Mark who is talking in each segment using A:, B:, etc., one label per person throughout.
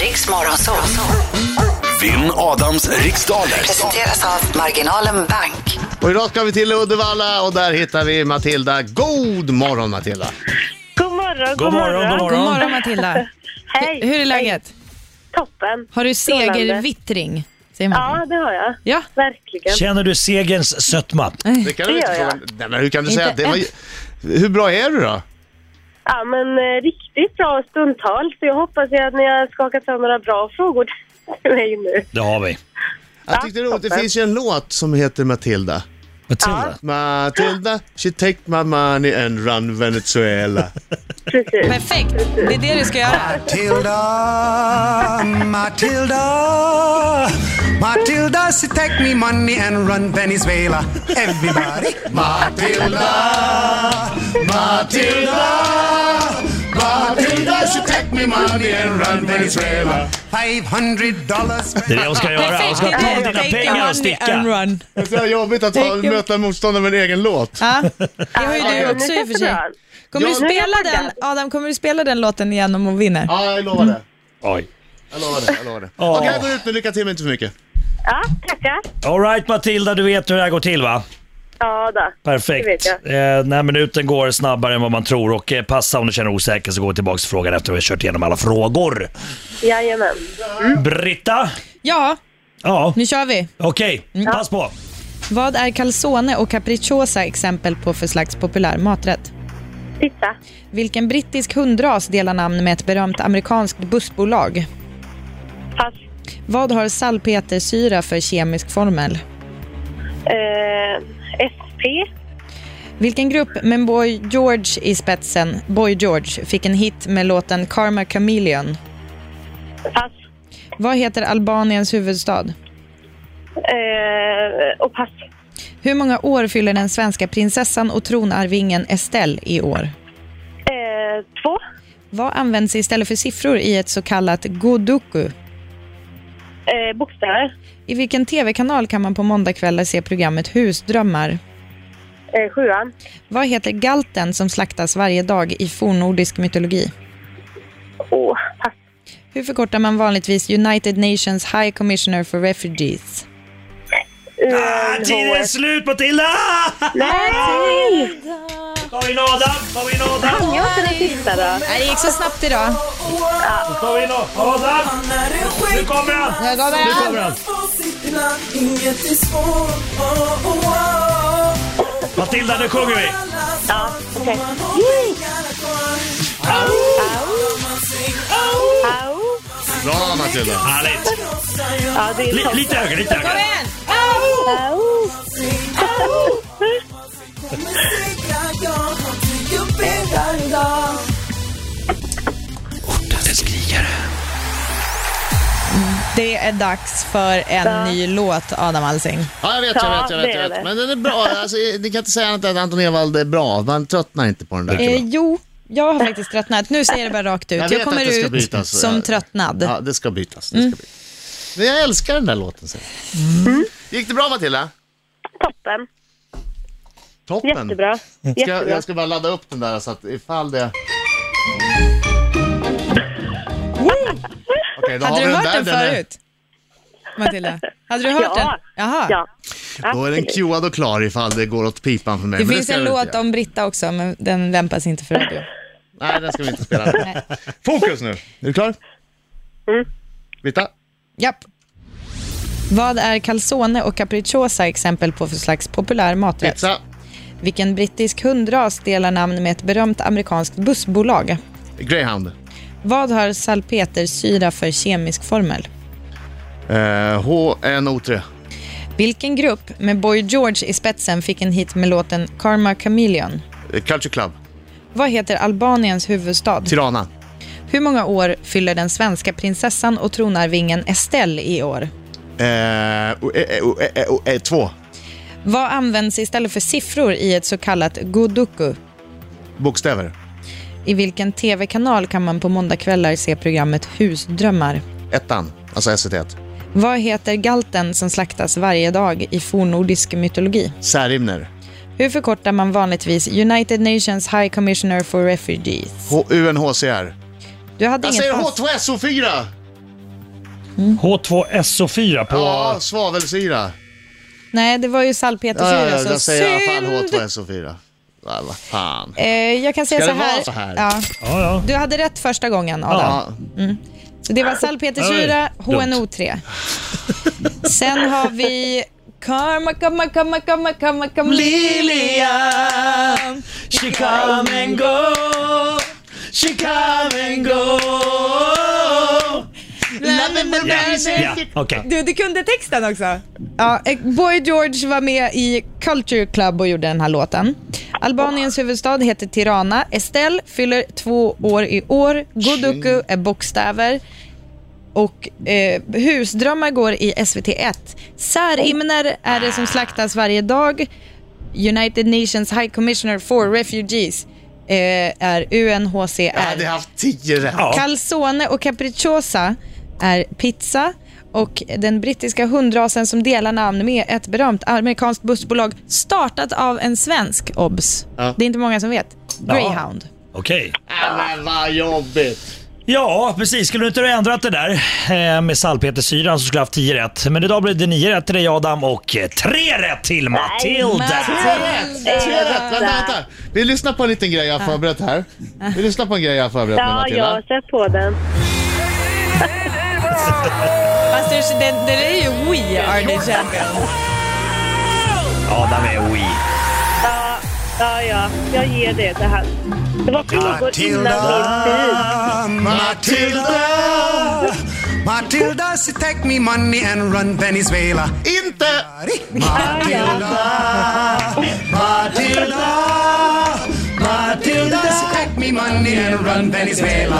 A: Riks Morgonzoo.
B: Vinn Adams riksdaler.
A: Presenteras av Marginalen Bank.
C: Och idag ska vi till Uddevalla och där hittar vi Matilda. God morgon Matilda!
D: God morgon,
E: God morgon, god morgon.
F: God morgon Matilda.
D: Hej.
F: Hur är läget?
D: Toppen.
F: Har du
D: Strålande.
F: segervittring? Säger man.
D: Ja, det har jag.
F: Ja.
D: Verkligen.
E: Känner du segerns sötma?
C: Det kan du
D: Det
C: inte
D: gör jag.
C: fråga. Nej, men hur kan du
F: Inte
C: säga att det var...
F: än.
C: Hur bra är du då?
D: Ja, men eh, riktigt bra stundtal. Så jag hoppas ju att ni har skakat fram några bra frågor till mig nu.
E: Det har vi.
C: Jag tyckte det, var roligt. det
D: toppen.
C: finns ju en låt som heter Matilda.
E: Matilda.
C: Matilda, she take my money and run Venezuela.
D: Precis.
F: Perfekt, det är det du ska göra.
G: Matilda, Matilda, Matilda, she take me money and run Venezuela. Everybody. Matilda, Matilda, Matilda, she take me money and run Venezuela. Five hundred dollars.
E: Det är det hon ska göra. Hon ska
F: det är
E: ta
F: det.
E: dina
F: Take your
E: pengar
F: money
E: och sticka.
F: run.
C: Det är så här jobbigt att ha, möta motståndare med en egen låt.
F: Ja, det har ju
D: Ja,
F: du
D: men
F: också
D: det
F: i och för
D: är
F: sig.
D: bra.
F: Kommer du
C: Ja, nu
D: är jag
F: spela den,
D: taggad.
F: Adam, kommer du spela den låten igen om hon vinner?
C: Ja, jag lovar det.
E: Oj.
C: Jag lovar det. Jag lovar det.
E: Åh.
C: Okej, jag går ut nu. Lycka till men inte för mycket.
D: Ja, tackar.
E: All right Matilda, du vet hur det här går till va?
D: Ja, då. Det
E: Perfekt.
D: vet jag.
E: Eh, när minuten går snabbare än vad man tror och eh, passa om du känner osäker så går vi tillbaka till frågan efter vi har kört igenom alla frågor.
D: Jajamän.
E: Britta?
F: Ja,
E: Ja,
F: nu kör vi.
E: okej. Pass på. Ah,
F: Vad är calzone och capricciosa exempel på för slags populär maträtt?
D: Pizza.
F: Vilken brittisk hundras delar namn med ett berömt amerikanskt bussbolag?
D: Pass.
F: Vad har salpetersyra för kemisk formel?
D: Eh, SP.
F: Vilken grupp med Boy George i spetsen, Boy George, fick en hit med låten Karma Chameleon?
D: Pass.
F: Vad heter Albaniens huvudstad?
D: Eh, och pass.
F: Hur många år fyller den svenska prinsessan och tronarvingen Estelle i år?
D: Eh, två.
F: Vad används istället för siffror i ett så kallat godoku?
D: Eh, bokstäver.
F: I vilken tv-kanal kan man på måndagkvällar se programmet Husdrömmar?
D: Eh, sjuan.
F: Vad heter galten som slaktas varje dag i fornnordisk mytologi?
D: Och pass.
F: Hur förkortar man vanligtvis United Nations High Commissioner for Refugees?
E: Ah, tiden är slut Matilda!
D: Nej!
E: Tar vi in Adam? Tar vi in Adam?
D: Kan jag inte den sista då?
F: Nej, det gick så snabbt idag.
E: Tar vi in Adam? Nu kommer han!
F: Jag gav
E: Nu kommer han! Matilda, nu sjunger vi!
D: Ja, okej. Au.
C: Bra Matilda.
E: Härligt!
D: Ja, det är
E: Li-
D: toppen.
E: lite högre, lite högre.
D: Au.
F: Det är dags för en ny låt, Adam Alsing.
C: Ja, jag vet, jag vet, jag vet.
D: Ja, det
C: Jag
D: är
C: vet.
D: det.
C: Men den är bra. Alltså, ni kan inte säga annat än att Anton Ewald är bra. Man tröttnar inte på den där.
F: Eh, jo, jag har faktiskt tröttnat. Nu säger jag det bara rakt ut.
C: Jag
F: Jag,
C: vet
F: kommer
C: att det ska
F: ut
C: bytas. eh,
F: som tröttnad. Mm.
C: Ja, det ska bytas. Det ska bytas. Men jag älskar den där låten. Sen. Gick det bra Matilda?
D: Toppen.
C: Toppen.
D: Jättebra.
C: Ska, jag-
D: Jättebra.
C: jag ska bara ladda upp den där så att ifall det... Okej, då har vi
F: Hade du
C: den eh.
F: hört
C: där.
F: den
C: är-
F: förut? Matilda? Hade du hört
D: Ja.
F: den? Jaha.
D: Ja.
C: Då är den
D: Absolut.
C: cuead och klar ifall det går åt pipan för mig.
F: Det
C: Men
F: finns
C: ska
F: en
C: jag inte
F: låt
C: göra.
F: om Britta också, men den lämpas inte för radio.
C: Nej, den ska vi inte spela.
F: Nej.
C: Fokus nu. Är du klar?
D: Mm.
C: Britta?
F: Japp. Vad är calzone och capricciosa exempel på för slags populär maträtt?
C: Pizza?
F: Vilken brittisk hundras delar namn med ett berömt amerikanskt bussbolag?
C: Greyhound?
F: Vad har salpetersyra för kemisk formel?
C: Eh, HNO3?
F: Vilken grupp med Boy George i spetsen fick en hit med låten Karma Chameleon?
C: Eh, Culture Club?
F: Vad heter Albaniens huvudstad?
C: Tirana?
F: Hur många år fyller den svenska prinsessan och tronarvingen Estelle i år?
C: Eh, o- eh, eh, o- eh, eh, o- eh, två.
F: Vad används istället för siffror i ett så kallat godoku?
C: Bokstäver.
F: I vilken tv-kanal kan man på måndagkvällar se programmet Husdrömmar?
C: Ettan. Alltså SVT1.
F: Vad heter galten som slaktas varje dag i fornnordisk mytologi?
C: Särimner.
F: Hur förkortar man vanligtvis United Nations High Commissioner for Refugees?
C: H- UNHCR.
F: Du hade
C: Jag
F: inget
C: säger
F: pass.
C: H2SO4!
E: H2SO4 på...
C: Ja, svavelsyra.
F: Nej, det var ju
C: Ja,
F: salpetersyra.
C: ja,
F: så
C: jag säger i alla fall
F: synd.
C: H2SO4. Ja, vad fan.
F: Eh, jag kan säga
C: Ska
F: så
C: det
F: här.
C: vara så här?
F: Ja.
E: Ja, ja.
F: Du hade rätt första gången, Adam.
C: Ja,
F: Så det var salpetersyra,
E: Ja, det är dumt.
F: HNO3. Sen har vi Karma, karma, karma, karma, karma, karma.
E: Lilian, she come and go She come and go Ja, okej.
F: Du, du kunde texten också. Ja, eh, Boy George var med i Culture Club och gjorde den här låten. Albaniens huvudstad heter Tirana. Estelle fyller två år i år. Godoku är bokstäver. Och eh, Husdrömmar går i SVT1. Särimner är det som slaktas varje dag. United Nations High Commissioner for Refugees eh, är UNHCR.
C: jag hade haft tio rätt.
E: Ja.
F: Calzone och capricciosa är pizza och den brittiska hundrasen som delar namn med ett berömt amerikanskt bussbolag startat av en svensk, obs.
C: Ja.
F: Det är inte många som vet. Greyhound.
E: Okej.
C: Ja, men vad jobbigt.
E: Ja, precis. Skulle du inte ha ändrat det där eh, med salpetersyran så skulle jag haft 10 rätt. Men idag blev det 9 rätt till dig Adam och 3 rätt till Matilda.
F: Alltså,
C: Tre rätt. Vänta, vänta. Vi lyssnar på en liten grej jag har förberett här. Vi lyssnar på en grej jag har förberett med
D: Ja,
C: Matilda.
D: jag sätt på den.
F: Fast det, det, det är ju We Are The Champions.
E: Adam är we.
D: Ja, ja, ja. Jag ger det det här. Det var frågor innan min tid.
G: Matilda, Matilda, she take me money and run Venezuela.
C: Inte!
G: Matilda, Matilda, Matilda, she take me money and run Venezuela.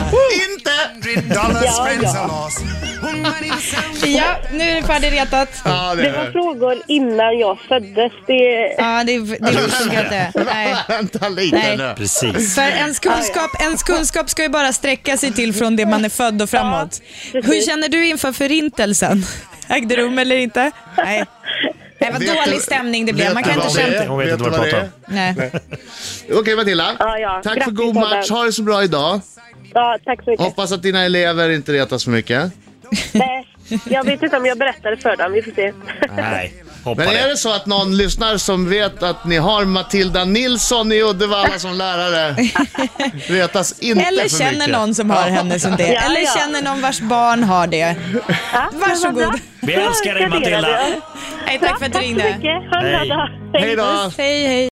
C: Inte!
G: Hundred dollars
D: Ja,
G: friends
D: ja.
G: are lost. One money sound-
F: Ja, nu är det färdigretat. Ja,
C: Ja, det
D: Det
C: är
D: var
C: det.
D: frågor innan jag föddes. Det...
F: det, det funkar inte. Nej.
C: Vänta lite
F: Nej.
C: nu.
E: Precis.
F: För ens kunskap, ens kunskap ska ju bara sträcka sig till från det man är född och framåt.
D: precis.
F: Hur känner du inför förintelsen? Ägde rum eller inte? Nej. Nej, vad
C: Vet du-
F: dålig stämning det blev. Man kan
C: Vet du
F: inte
C: vad det är?
F: skämta.
E: Hon vet inte vad
C: du det
E: vi
C: är?
E: pratar om.
F: Nej.
C: Okej Matilda,
D: Ja, ja.
C: tack för
D: Grattis,
C: god
D: Adam.
C: match. Ha det så bra idag.
D: Ja, tack så mycket.
C: Hoppas att dina elever inte retas för mycket.
D: Nej, jag vet inte om jag berättade för dem. Vi får se.
E: Nej, hoppa
C: Men är
E: det.
C: det så att någon lyssnar som vet att ni har Matilda Nilsson i Uddevalla som lärare, retas inte
F: Eller
C: för
F: känner
C: mycket.
F: någon som har henne som det.
D: Ja,
F: Eller
D: ja.
F: känner någon vars barn har det.
D: Ja, men vad
F: Varsågod.
D: bra.
E: Vi älskar dig,
D: Jag älskar er.
E: Matilda.
F: Nej, tack för att du
D: Tack så
F: ringde.
D: mycket. Ha en bra
E: Hej.
D: dag.
C: Hej då!
F: Hej, hej.